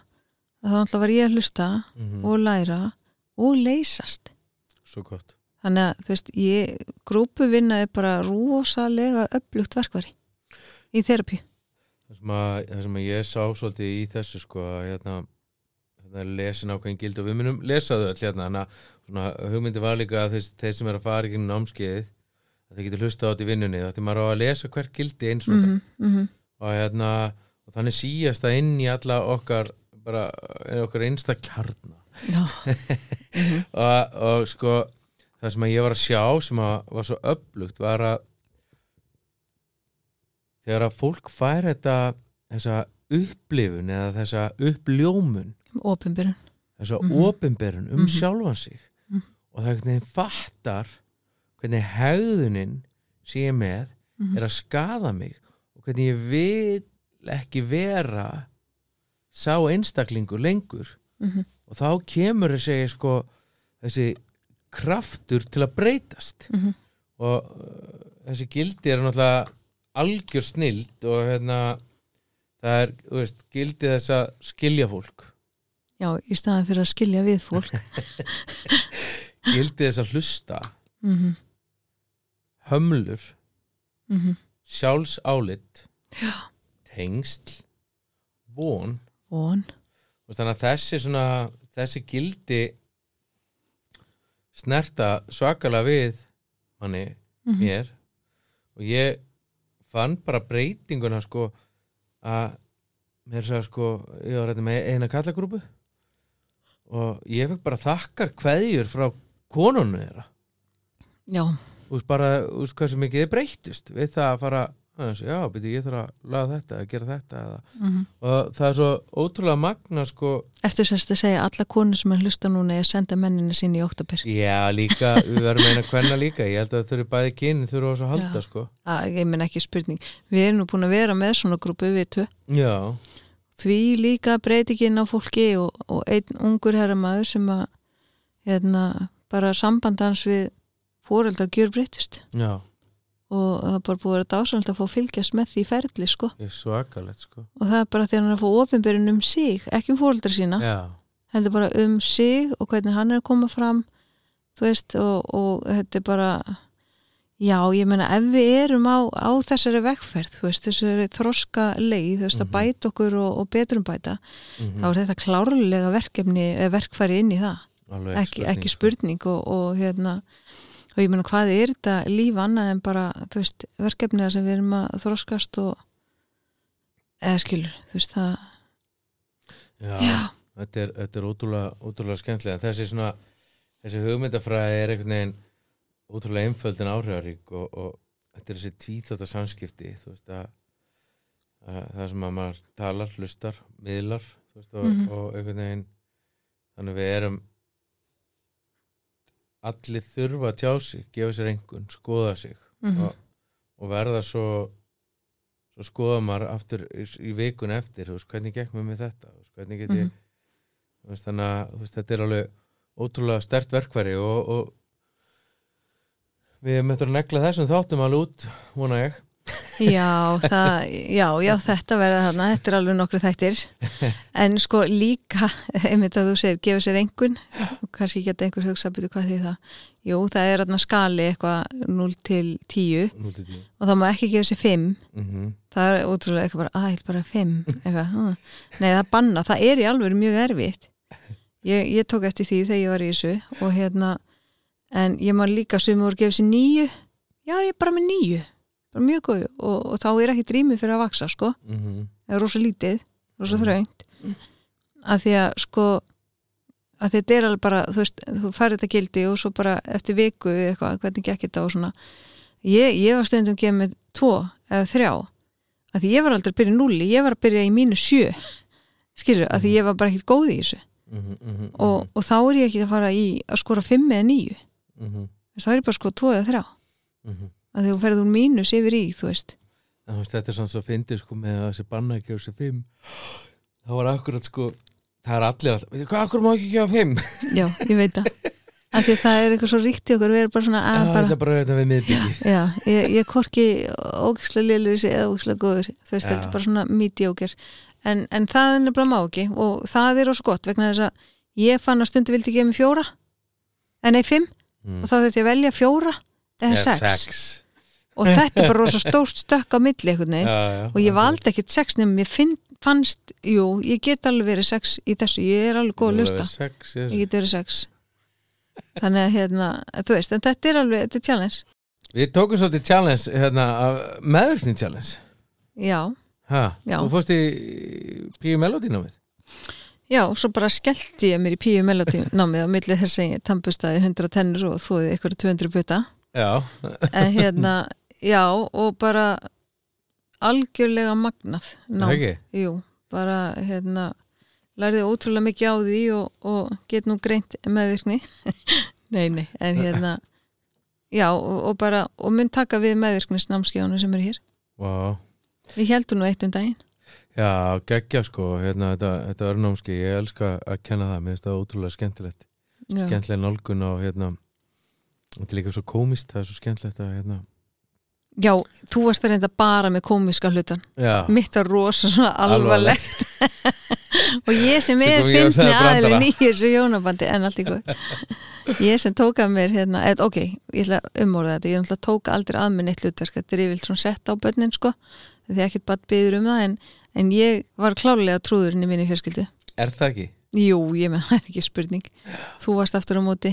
Speaker 2: þá alltaf var ég að hlusta
Speaker 1: Mm.
Speaker 2: og læra og leysast
Speaker 1: Mhm. Svo gott
Speaker 2: þannig að þú veist ég, grúpuvinna er bara rosalega öflugt verkvari í þerapi
Speaker 1: Það sem, að, það sem að ég sá svolítið í þessu sko að hérna þetta er lesin ákveðin gild og við munum lesa þau öll hérna þannig að svona, hugmyndi var líka að þeir, þeir sem er að fara í gegnum námskeið að þeir getur hlusta á þetta í vinnunni þá því maður á að lesa hvert gildi eins og
Speaker 2: mm
Speaker 1: mm
Speaker 2: -hmm, mm -hmm,
Speaker 1: og hérna og þannig síjast það inn í alla okkar bara eh, okkar einsta kjarna og, og sko það sem að ég var að sjá sem að var svo upplugt var að þegar að fólk fær þetta þessa upplifun eða þessa uppljómun
Speaker 2: opinbyrjun
Speaker 1: þessa mm
Speaker 2: Mhm.
Speaker 1: opinberun um
Speaker 2: Mhm.
Speaker 1: sjálfan sig
Speaker 2: Mhm.
Speaker 1: og það hvernig fattar hvernig hegðunin sem ég er með
Speaker 2: Mhm.
Speaker 1: er að skaða mig og hvernig ég vil ekki vera sá einstaklingur lengur
Speaker 2: Mhm.
Speaker 1: og þá kemur að segja sko þessi kraftur til að breytast
Speaker 2: Mhm.
Speaker 1: og uh, þessi gildi eru náttúrulega algjör snild og hérna það er, þú veist, gildi þess að skilja fólk,
Speaker 2: já, í staðan fyrir að skilja við fólk
Speaker 1: gildi þess að hlusta
Speaker 2: mm -hmm,
Speaker 1: hömlur,
Speaker 2: mm
Speaker 1: sjálfsálit tengsl von
Speaker 2: von
Speaker 1: Þú veist, þannig að þessi svona þessi gildi snerta svakalega við manni
Speaker 2: Mhm.
Speaker 1: mér og ég fann bara breytinguna sko að mér sagði sko ég var rætti með eina kallagrúpu og ég fekk bara þakkar kveðjur frá konunni þeirra
Speaker 2: já,
Speaker 1: þú veist bara, þú veist hversu mikið þið breyttust við það að fara, aðeins, já, byrju ég þarf að laga þetta, að gera þetta eða.
Speaker 2: mm -hmm.
Speaker 1: og það er svo ótrúlega magna sko
Speaker 2: ertu sérst að segja að alla konur sem er hlusta núna er að senda mennina sín í oktober
Speaker 1: Já, líka, við verðum eina kvenna líka ég held að þau eru bæði kynin, þau eru á svo að halda
Speaker 2: Já.
Speaker 1: sko.
Speaker 2: að, ég menn ekki spurning, við erum nú búin að vera með svona grúpu við tvö
Speaker 1: Já,
Speaker 2: því líka breytikinn á fólki og, og einn ungur herramaður sem að hérna, bara samband hans við fóreldar gjör breytist
Speaker 1: já,
Speaker 2: og það er bara búið að dásanlega að fá að fylgjast með því ferli sko
Speaker 1: ég er svakalegt sko.
Speaker 2: og það er bara þegar hann er að fá ofinbyrjun um sig ekki um fóreldra sína,
Speaker 1: Já,
Speaker 2: heldur bara um sig og hvernig hann er að koma fram þú veist og, og þetta er bara já, ég meina ef við erum á, á þessari vegferð þú veist, þessari þroska leið þú veist,
Speaker 1: Mhm.
Speaker 2: að bæta okkur og, og betrum bæta
Speaker 1: mm
Speaker 2: þá er þetta klárlega verkefni eða verkfæri inn í það,
Speaker 1: alveg
Speaker 2: ekki, ekki
Speaker 1: sko.
Speaker 2: spurning og, og hérna og ég meina hvað er þetta líf annað en bara þú veist, verkefniða sem við erum að þroskast og eða skilur, þú veist það
Speaker 1: Já,
Speaker 2: já,
Speaker 1: Þetta, er, þetta er ótrúlega, ótrúlega skemmtilega En þessi, svona, þessi hugmyndafræði er einhvern veginn ótrúlega einföldin áhrifarík og, og þetta er þessi tvíþóta samskipti þú veist að, að það sem að maður talar, hlustar, miðlar þú veist, og,
Speaker 2: Mhm.
Speaker 1: og einhvern veginn þannig við erum allir þurfa að tjá sig gefa sér einhvern, skoða sig
Speaker 2: mm
Speaker 1: og, og verða svo svo skoða maður aftur í, í vikun eftir, þú veist, hvernig gekk mér með þetta þú veist, hvernig get ég
Speaker 2: Mhm.
Speaker 1: þú veist, þannig að þú veist, þetta er alveg ótrúlega stert verkværi og, og við erum eftir að negla þessum þáttum alveg út, vona ég
Speaker 2: Já, það, já, já, þetta verða þarna, þetta er alveg nokkru þættir en sko líka (laughs) einmitt að þú segir, gefa sér engun og kannski geta einhver hugsa byrju hvað því það Jú, það er þarna skali eitthvað 0 til 10
Speaker 1: 0 til 10
Speaker 2: og þá má ekki gefa sér 5
Speaker 1: mhm
Speaker 2: það er ótrúlega eitthvað bara, að, bara 5 eitthvað, hm. nei það er banna það er í alveg mjög erfitt ég, ég tók eftir því þegar ég var í þessu og hérna, en ég má líka sumur voru gefið sér nýju já ég er bara með nýju, bara mjög góð og, og þá er ekki drými fyrir að vaksa sko
Speaker 1: mhm
Speaker 2: það er rosa lítið, rosa
Speaker 1: Mm.
Speaker 2: þröngt að því að sko að þetta er alveg bara, þú veist þú færði þetta gildi og svo bara eftir viku eða eitthvað, hvernig gekk þetta og svona ég, ég var stundum gefið með tvo eða þrjá, að því ég var aldrei að byrja í núli, ég var að byrja í mínu sjö skilur, að því ég var bara ekkert góð í þessu
Speaker 1: mhm, mhm,
Speaker 2: og, og þá er ég ekki að fara í að skora fimm eða níu,
Speaker 1: mhm,
Speaker 2: Þess, þá er ég bara að skora tvo eða þrjá,
Speaker 1: mhm.
Speaker 2: að því þú ferði úr mínus yfir í, þú veist
Speaker 1: En þú veist, þetta er svona svo fyndið sko með að þessi banna ekki á þessi fimm það var akkurat sko það er allir alltaf, veitir hvað, akkur má ekki gefa fimm
Speaker 2: já, ég veit það að því það er eitthvað svo ríkt í okkur, við erum bara svona
Speaker 1: það
Speaker 2: að
Speaker 1: er
Speaker 2: Ah, bara
Speaker 1: alltaf bara þetta við miðbyggið
Speaker 2: (laughs) Já, ég, ég korki ógislega lélur þessi eða ógislega góður þú veist,
Speaker 1: Já.
Speaker 2: þetta er bara svona mediocre en, en það er nefnilega má ekki og það er ós gott vegna þess að ég fann að stundu vildi gefa mig fjóra en nei, fimm,
Speaker 1: Mm.
Speaker 2: og þá þurfti ég að velja fjóra eða
Speaker 1: Eða
Speaker 2: sex. og þetta er bara rosa stórt stökk á milli einhvern
Speaker 1: Já,
Speaker 2: veginn
Speaker 1: já,
Speaker 2: og ég
Speaker 1: akkurat.
Speaker 2: valdi ekkit sex nefnum ég finn, fannst, jú, ég get alveg verið sex í þessu, ég er alveg góð að
Speaker 1: Þú
Speaker 2: lusta
Speaker 1: verður sex, yes.
Speaker 2: ég get verið sex þannig að hérna, þú veist, en þetta er alveg, þetta er challenge,
Speaker 1: Við tókum svolítið challenge hérna, meðvirkni challenge
Speaker 2: já
Speaker 1: ha,
Speaker 2: Já.
Speaker 1: Þú fórst í Píu Melodína við
Speaker 2: Já, og svo bara skellti ég mér í píu melodíum námið á milli þess að ég tampustaði 100 tennur og þóði eitthvað 200 buta
Speaker 1: Já, (laughs)
Speaker 2: en hérna, já, og bara algjörlega magnað
Speaker 1: það
Speaker 2: nám,
Speaker 1: ekki
Speaker 2: jú, bara hérna, lærði ótrúlega mikið á því og, og get nú greint meðvirkni (laughs) nei, nei, en hérna já, og, og bara, og mun taka við meðvirknisnámskjánu sem er hér
Speaker 1: Vá.
Speaker 2: við heldum nú eitt um daginn
Speaker 1: Já, geggja sko hérna, þetta, þetta örnámski, ég elska að kenna það mér finnst það ótrúlega skemmtilegt
Speaker 2: já,
Speaker 1: skemmtileg nálgun á hérna þetta er líka svo komist, það er svo skemmtilegt að hérna
Speaker 2: já þú varst að reynda bara með komiska hlutan
Speaker 1: já,
Speaker 2: mitt var rosa svona alvarlegt (laughs) og ég sem er
Speaker 1: Sem kom ég og sagði
Speaker 2: finni aðeins
Speaker 1: brandara.
Speaker 2: nýjur sem hjónabandi en allt í
Speaker 1: (laughs)
Speaker 2: góð ég sem tóka mér hérna et, ok, ég ætla að umorða þetta ég náttúrulega tóka aldrei að mér neitt hlutverk þetta er yfirlt svona sett á börnin sko því ekkert bara byður um það en, en ég var klálega trúðurinn í minni fjörskildu
Speaker 1: er það ekki?
Speaker 2: jú, ég með (laughs) það er ekki spurning þú varst aftur á móti,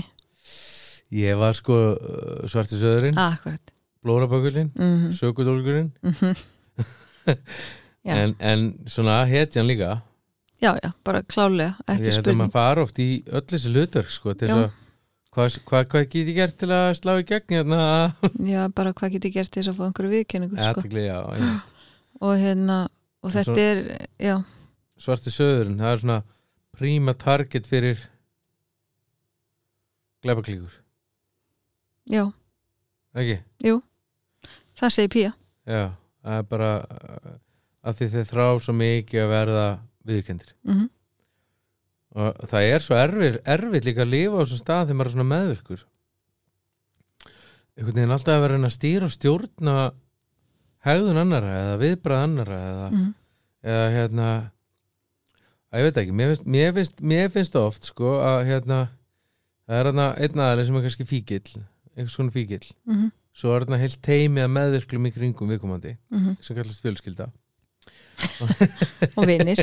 Speaker 1: Ég var sko uh, svarti söðurinn,
Speaker 2: akkurat
Speaker 1: blórabökullinn
Speaker 2: Ah. mm
Speaker 1: sökudólgurinn
Speaker 2: mhm.
Speaker 1: (laughs)
Speaker 2: Já.
Speaker 1: en, en svona hetjan líka
Speaker 2: já, já, bara klálega, ekki
Speaker 1: ég held að
Speaker 2: spurning
Speaker 1: maður fara oft í öll þessi hlutverk sko, til þess
Speaker 2: Já.
Speaker 1: að hvað hva, hva get ég gert til að slá í gegn hérna
Speaker 2: já, bara hvað geti gert til þess að fá einhverju viðkenningu sko.
Speaker 1: Athygli, já, einmitt.
Speaker 2: og hérna, og
Speaker 1: En
Speaker 2: þetta
Speaker 1: svo-
Speaker 2: er já,
Speaker 1: svarti söðurinn, það er svona príma target fyrir glepaklíkur,
Speaker 2: já
Speaker 1: ekki?
Speaker 2: Það segir Pía.
Speaker 1: Já, það er bara uh, að því þið þrá svo mikið að verða viðkendir
Speaker 2: Mm -hmm.
Speaker 1: og það er svo erfir, erfitt líka að lifa á þessum stað þegar maður er svona meðvirkur einhvern veginn alltaf að vera að reyna að stýra og stjórna hegðun annara eða viðbrað annara eða,
Speaker 2: Mm. mhm,
Speaker 1: eða hérna að ég veit ekki, mér finnst, mér finnst, mér finnst oft sko að hérna það er hérna einn aðalega sem er kannski fíkill einhvers svona fíkill,
Speaker 2: mhm,
Speaker 1: svo er hérna heilt teimi að meðvirklum í kringum viðkomandi sem kallast fjölskylda
Speaker 2: mhm. Og vinnir.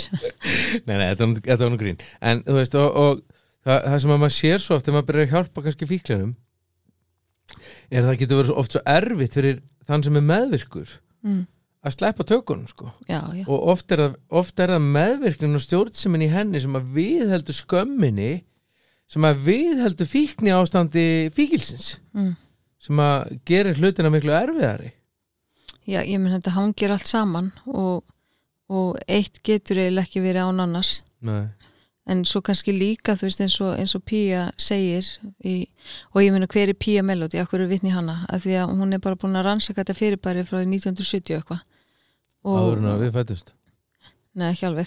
Speaker 1: (laughs) Nei, nei, þetta var nú- þetta var nú grín En þú veist, og, og það, það sem að maður sér svo oft þegar maður byrjar að hjálpa kannski fíklinum er að það getur verið svo oft svo erfitt fyrir þann sem er meðvirkur
Speaker 2: Mm.
Speaker 1: að sleppa tökunum, sko
Speaker 2: Já, já.
Speaker 1: og oft er, það, oft er það meðvirknin og stjórnsemin í henni sem að viðheldur skömminni sem að viðheldur fíkni ástandi fíkilsins
Speaker 2: Mm.
Speaker 1: sem að gerir hlutina miklu erfiðari
Speaker 2: Já, ég menn þetta hangir allt saman og, og eitt getur eiginlega ekki verið án annars.
Speaker 1: Nei.
Speaker 2: En svo kannski líka, þú veist, eins og, eins og Pía segir í, og ég menna hver er Pía Melody, akkur er vitni hana, að því að hún er bara búin að rannsaka þetta fyrirbæri frá 1970 og eitthvað.
Speaker 1: áður en að við fættumst
Speaker 2: Nei, ekki alveg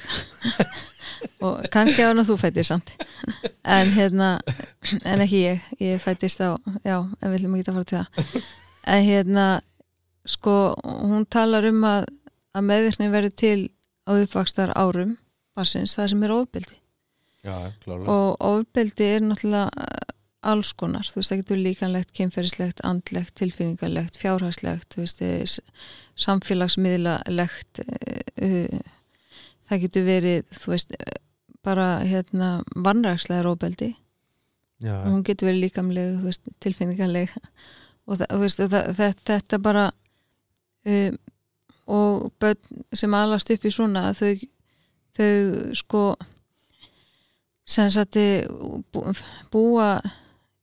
Speaker 2: (laughs) og kannski að þú fættist samt en hérna en ekki ég, ég fættist á já, en við viljum ekki að fara til það en hérna sko, hún talar um að, að meðvirkni verður til á uppvakstar árum barsins, það sem er ofbeldi
Speaker 1: já, klálega
Speaker 2: og ofbeldi er náttúrulega eh, alls konar, þú veist, það getur líkanlegt kynferðislegt, andlegt, tilfinningalegt fjárhagslegt, þú veist eh, s- samfélagsmiðlalegt eh, eh, það getur verið þú veist, eh, bara hérna, vannrækslegar ofbeldi
Speaker 1: já,
Speaker 2: og hún getur verið líkamleg þú veist, tilfinninganleg og, það, þú veist, og það, þetta, þetta bara um, og börn sem alast upp í svona þau, þau sko sem sagt eh, bú- búa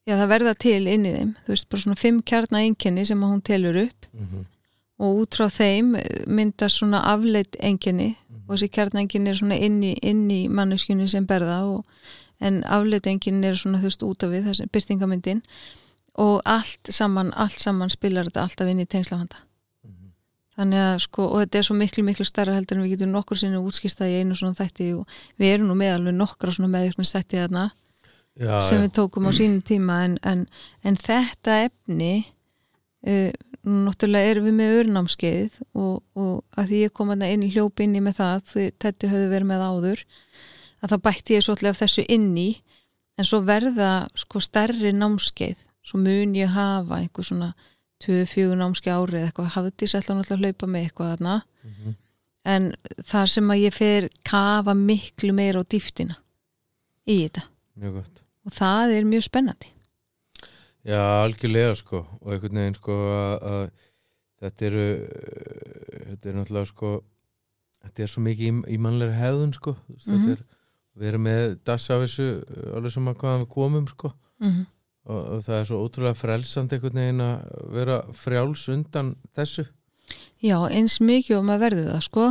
Speaker 2: já það verða til inn í þeim þú veist bara svona fimm kjarna einkenni sem að hún telur upp
Speaker 1: mhm,
Speaker 2: og út frá þeim eh, myndast svona afleitt einkenni og
Speaker 1: mhm.
Speaker 2: þessi kjarnengin er svona inn í, inn í manneskjunni sem berða og, en afleitengin er svona þú veist út af við þessi byrtingamyndin og allt saman, allt saman spilar þetta alltaf inn í tengslafanda
Speaker 1: Mhm.
Speaker 2: þannig að sko, og þetta er svo miklu miklu starra heldur en við getum nokkur sinni útskýrstað í einu svona þætti og við erum nú með alveg nokkra svona meðvirknis þætti þarna
Speaker 1: já,
Speaker 2: sem
Speaker 1: já.
Speaker 2: við tókum á sínum tíma en, en, en þetta efni uh, náttúrulega erum við með örnámskeið og, og að því ég kom að inn í hljóp inni með það því þetta höfðu verið með áður að það bætti ég svolítið af þessu inni en svo verða sko stærri námskeið svo mun ég hafa einhver svona 24 námskeið árið eða eitthvað hafði þess alltaf náttúrulega að hlaupa með eitthvað þarna
Speaker 1: Mhm.
Speaker 2: en þar sem að ég fer kafa miklu meira á dýftina í þetta
Speaker 1: mjög gott
Speaker 2: og það er mjög spennandi
Speaker 1: já, algjörlega sko og einhvern veginn sko að að þetta eru eh, þetta eru náttúrulega sko þetta er svo mikið í, í mannlega hefðun sko Þú veist,
Speaker 2: Mhm.
Speaker 1: þetta er, við erum með dass af þessu eh, alveg sem að hvaðan við komum sko
Speaker 2: mm
Speaker 1: og, og það er svo ótrúlega frelsandi einhvern veginn að vera frjáls undan þessu
Speaker 2: Já, eins mikið og maður verður það sko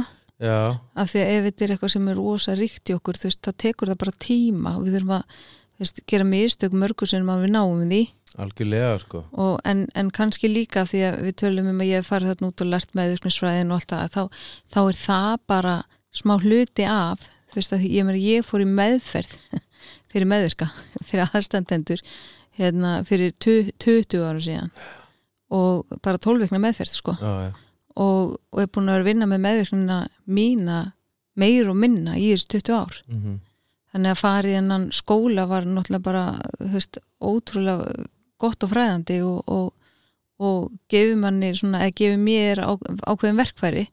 Speaker 1: já,
Speaker 2: af því að ef þetta er eitthvað sem er rosa ríkt í okkur þú veist, þá tekur það bara tíma og við þurfum að þú veist, gera mistök mörgu sem við náum því
Speaker 1: algjörlega sko
Speaker 2: og, en, en kannski líka af því að við tölum um að ég hef farið þarna út og lært með ykkurnisfræðin og allt það þá, þá er það bara smá hluti af þú veist að því- ég, meni, ég fór í meðferð (laughs) fyrir meðvirka, (laughs) fyrir aðstandendur hérna, fyrir tu- 20 ára síðan og bara 12 vikna meðferð sko
Speaker 1: já, já,
Speaker 2: og, og er búin að vera að vinna með meðvirknina mína meir og minna í þessu 20 ár.
Speaker 1: mm
Speaker 2: Þannig að fara í hennan skóla var náttúrulega bara þú veist, ótrúlega gott og fræðandi og, og, og gefur manni svona, eða gefur mér á, ákveðin verkfæri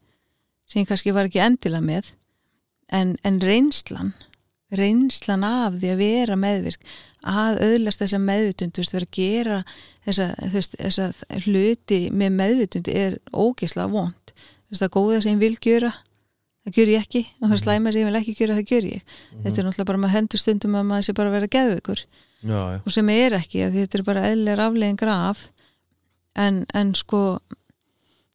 Speaker 2: sem ég kannski var ekki endilega með en, en reynslan reynslan af því að vera meðvirk að öðlast þessa meðvitund þú veist, vera að gera þessa, þú veist, þessa hluti með meðvitund er ógisla vond þú veist, það góða sem ég vil gjöra það gjör ég ekki, og það
Speaker 1: Mhm.
Speaker 2: slæma sem ég vil ekki gjöra það gjör ég þetta er náttúrulega bara maður hendur stundum að maður sé bara að vera geðveikur
Speaker 1: já, já,
Speaker 2: og sem er ekki, að þetta er bara eðlir aflegin graf en, en sko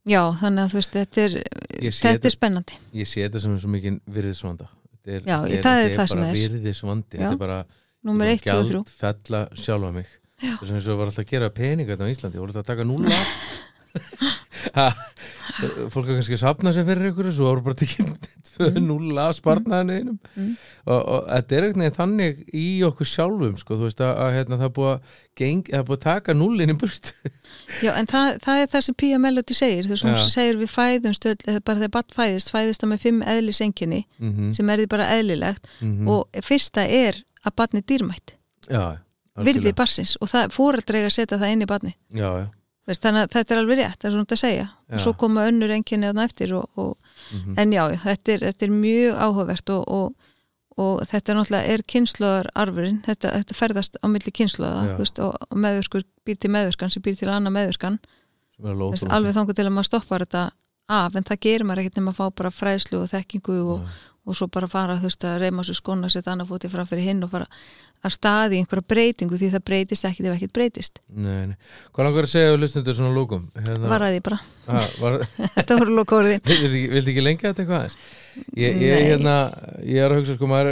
Speaker 2: já, þannig að þú veist, þetta er
Speaker 1: Ég sé
Speaker 2: þetta
Speaker 1: þetta-
Speaker 2: er spennandi
Speaker 1: ég sé þetta sem er svo mikið virðisvanda þetta er,
Speaker 2: Já,
Speaker 1: þetta
Speaker 2: það er
Speaker 1: þetta
Speaker 2: það sem
Speaker 1: bara
Speaker 2: er.
Speaker 1: virðisvandi,
Speaker 2: Já.
Speaker 1: þetta er bara
Speaker 2: númer 1 og 3
Speaker 1: fella sjálfa mig þess að ég var alltaf að gera peninga þetta á Íslandi, ég voru alltaf að taka núla
Speaker 2: (laughs)
Speaker 1: Ha, fólk er kannski að sapna sér fyrir ykkur og svo voru bara tekið tvö núla sparnaðinu einum
Speaker 2: Mm.
Speaker 1: og, og þetta er eitthvað þannig í okkur sjálfum sko, þú veist að, að hérna, það er búið að, geng, það er búið að taka núlinn í burt
Speaker 2: já, en það, það er það sem Pía Melody segir þú veist, hún
Speaker 1: Já.
Speaker 2: segir við fæðumst öll, eða bara þegar batt fæðist, fæðist það með fimm eðlisenginni
Speaker 1: mm -hmm,
Speaker 2: Mhm, sem er því bara eðlilegt og fyrsta er að batni dýrmætt,
Speaker 1: mhm. já,
Speaker 2: virði
Speaker 1: algjörlega.
Speaker 2: barsins og það, fóreldra eiga að setja það inn í batni
Speaker 1: já, já,
Speaker 2: Veist, þannig að þetta er alveg rétt, það er svona þetta að segja og
Speaker 1: Já.
Speaker 2: svo koma önnur enginni þarna eftir og, og,
Speaker 1: Mhm.
Speaker 2: en já, já, þetta er, þetta er mjög áhugavert og, og, og þetta er náttúrulega er kynnslóðararfurinn, þetta, þetta ferðast á milli kynnslóða
Speaker 1: Já.
Speaker 2: þú veist, og og meðvirkur býr til meðvirkan sem býr til annað meðvirkan
Speaker 1: sem er alveg
Speaker 2: Þú veist,
Speaker 1: ótrúlegt.
Speaker 2: alveg þangu til að maður stoppar þetta af en það gerir maður ekkert nema að fá bara fræðslu og þekkingu og,
Speaker 1: Já.
Speaker 2: og svo bara fara þú veist, að reyma sér skona, setja annað fóti fram fyrir hinn og fara að staði einhverja breytingu því það breytist ekkit ef ekkit breytist
Speaker 1: Nei, nei. Hvað langar að segja við lusnendur svona lókum? Hérna,
Speaker 2: var að því bara,
Speaker 1: ha, var,
Speaker 2: þetta voru lókóriðin
Speaker 1: vildi, ekki- vildi ekki lengja þetta eitthvað aðeins? Ég, ég,
Speaker 2: Nei.
Speaker 1: hérna, ég er að hugsa sko maður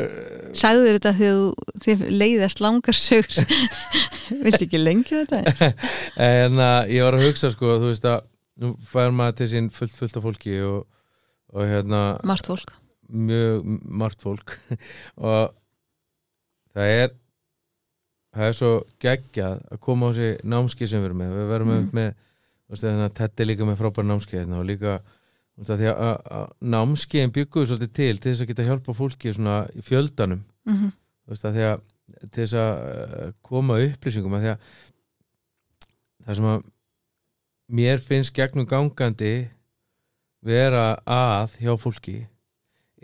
Speaker 2: sagður þetta þegar þú- þið leiðast langar sögur (laughs) viltu ekki lengja þetta? eins?
Speaker 1: en að eh, hérna, ég var að hugsa sko þú veist að nú fær maður til sín fullt fullt af fólki og, og hérna
Speaker 2: margt fólk
Speaker 1: mjög margt fólk (laughs) og það er það er svo geggjað að koma á sig námski sem við erum með við verum
Speaker 2: Mm.
Speaker 1: mm. með veist, þannig að þetta er líka með frábær námskeið hérna og líka þú veist, að því að, að, að námskeiðin bygguðu svolítið til til þess að geta hjálpa fólki svona í fjöldanum
Speaker 2: mm -hmm.
Speaker 1: þú veist, að því að til þess að eh, koma upplýsingum að því að það sem að mér finnst gegnum gangandi vera að hjá fólki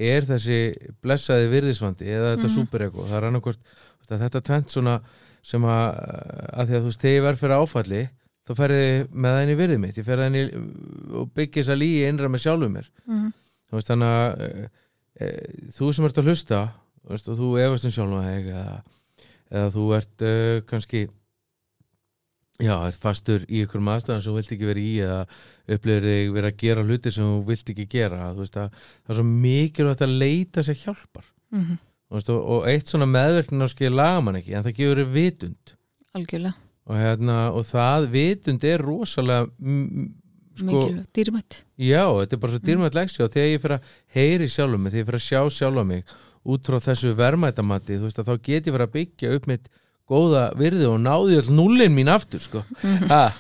Speaker 1: er þessi blessaði virðisvandi eða þetta mm
Speaker 2: Mhm.
Speaker 1: það er annarkvort þú veist, að þetta tvent svona sem að, að því að þú veist, þegar ég verð fyrir áfalli þá ferði með það inn í virðið mitt ég ferði inn í og byggja þess að líi innra með sjálfum mér
Speaker 2: mhm,
Speaker 1: þú veist þannig að e, e, þú sem ert að hlusta þú veist, og þú efast um sjálfum þig eða, eða þú ert e, kannski já, ert fastur í ykkur maðurstæðan sem þú vilt ekki vera í eða upplifir þig vera að gera hluti sem þú vilt ekki gera þú veist að það er svo mikilvægt að leita sér hjálpar
Speaker 2: Mm -hmm.
Speaker 1: þú veist, og, og eitt svona meðverknin á skil laga mann ekki en það gefur þér vitund
Speaker 2: algjörlega,
Speaker 1: og, hérna, og það vitund er rosalega mm, sko,
Speaker 2: mikilvægt, dýrmætt
Speaker 1: Já, þetta er bara svo dýrmætt leksja og þegar ég fyrir að heyri sjálfum mig, þegar ég fyrir að sjá sjálfum mig út frá þessu verðmættamati þú veist að þá get ég fyrir að byggja upp mitt góða virði og náði all nullin mín aftur sko Ha.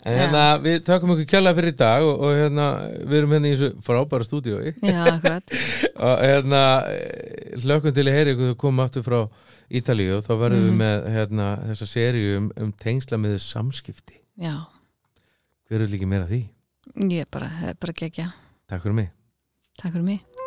Speaker 1: En hérna, við tökum ykkur kjalla fyrir í dag og, og hérna, við erum hérna í þessu frábæra stúdíói
Speaker 2: já, akkurat
Speaker 1: og hérna, eh, hlökkum til að heyri ykkur þú komum aftur frá Ítalíu og þá verðum við með hérna, þessa seríu um, um tengsla með samskipti
Speaker 2: já,
Speaker 1: Hver er líka meira því?
Speaker 2: ég er bara, það er bara gegja
Speaker 1: Takk fyrir mig
Speaker 2: takk fyrir mig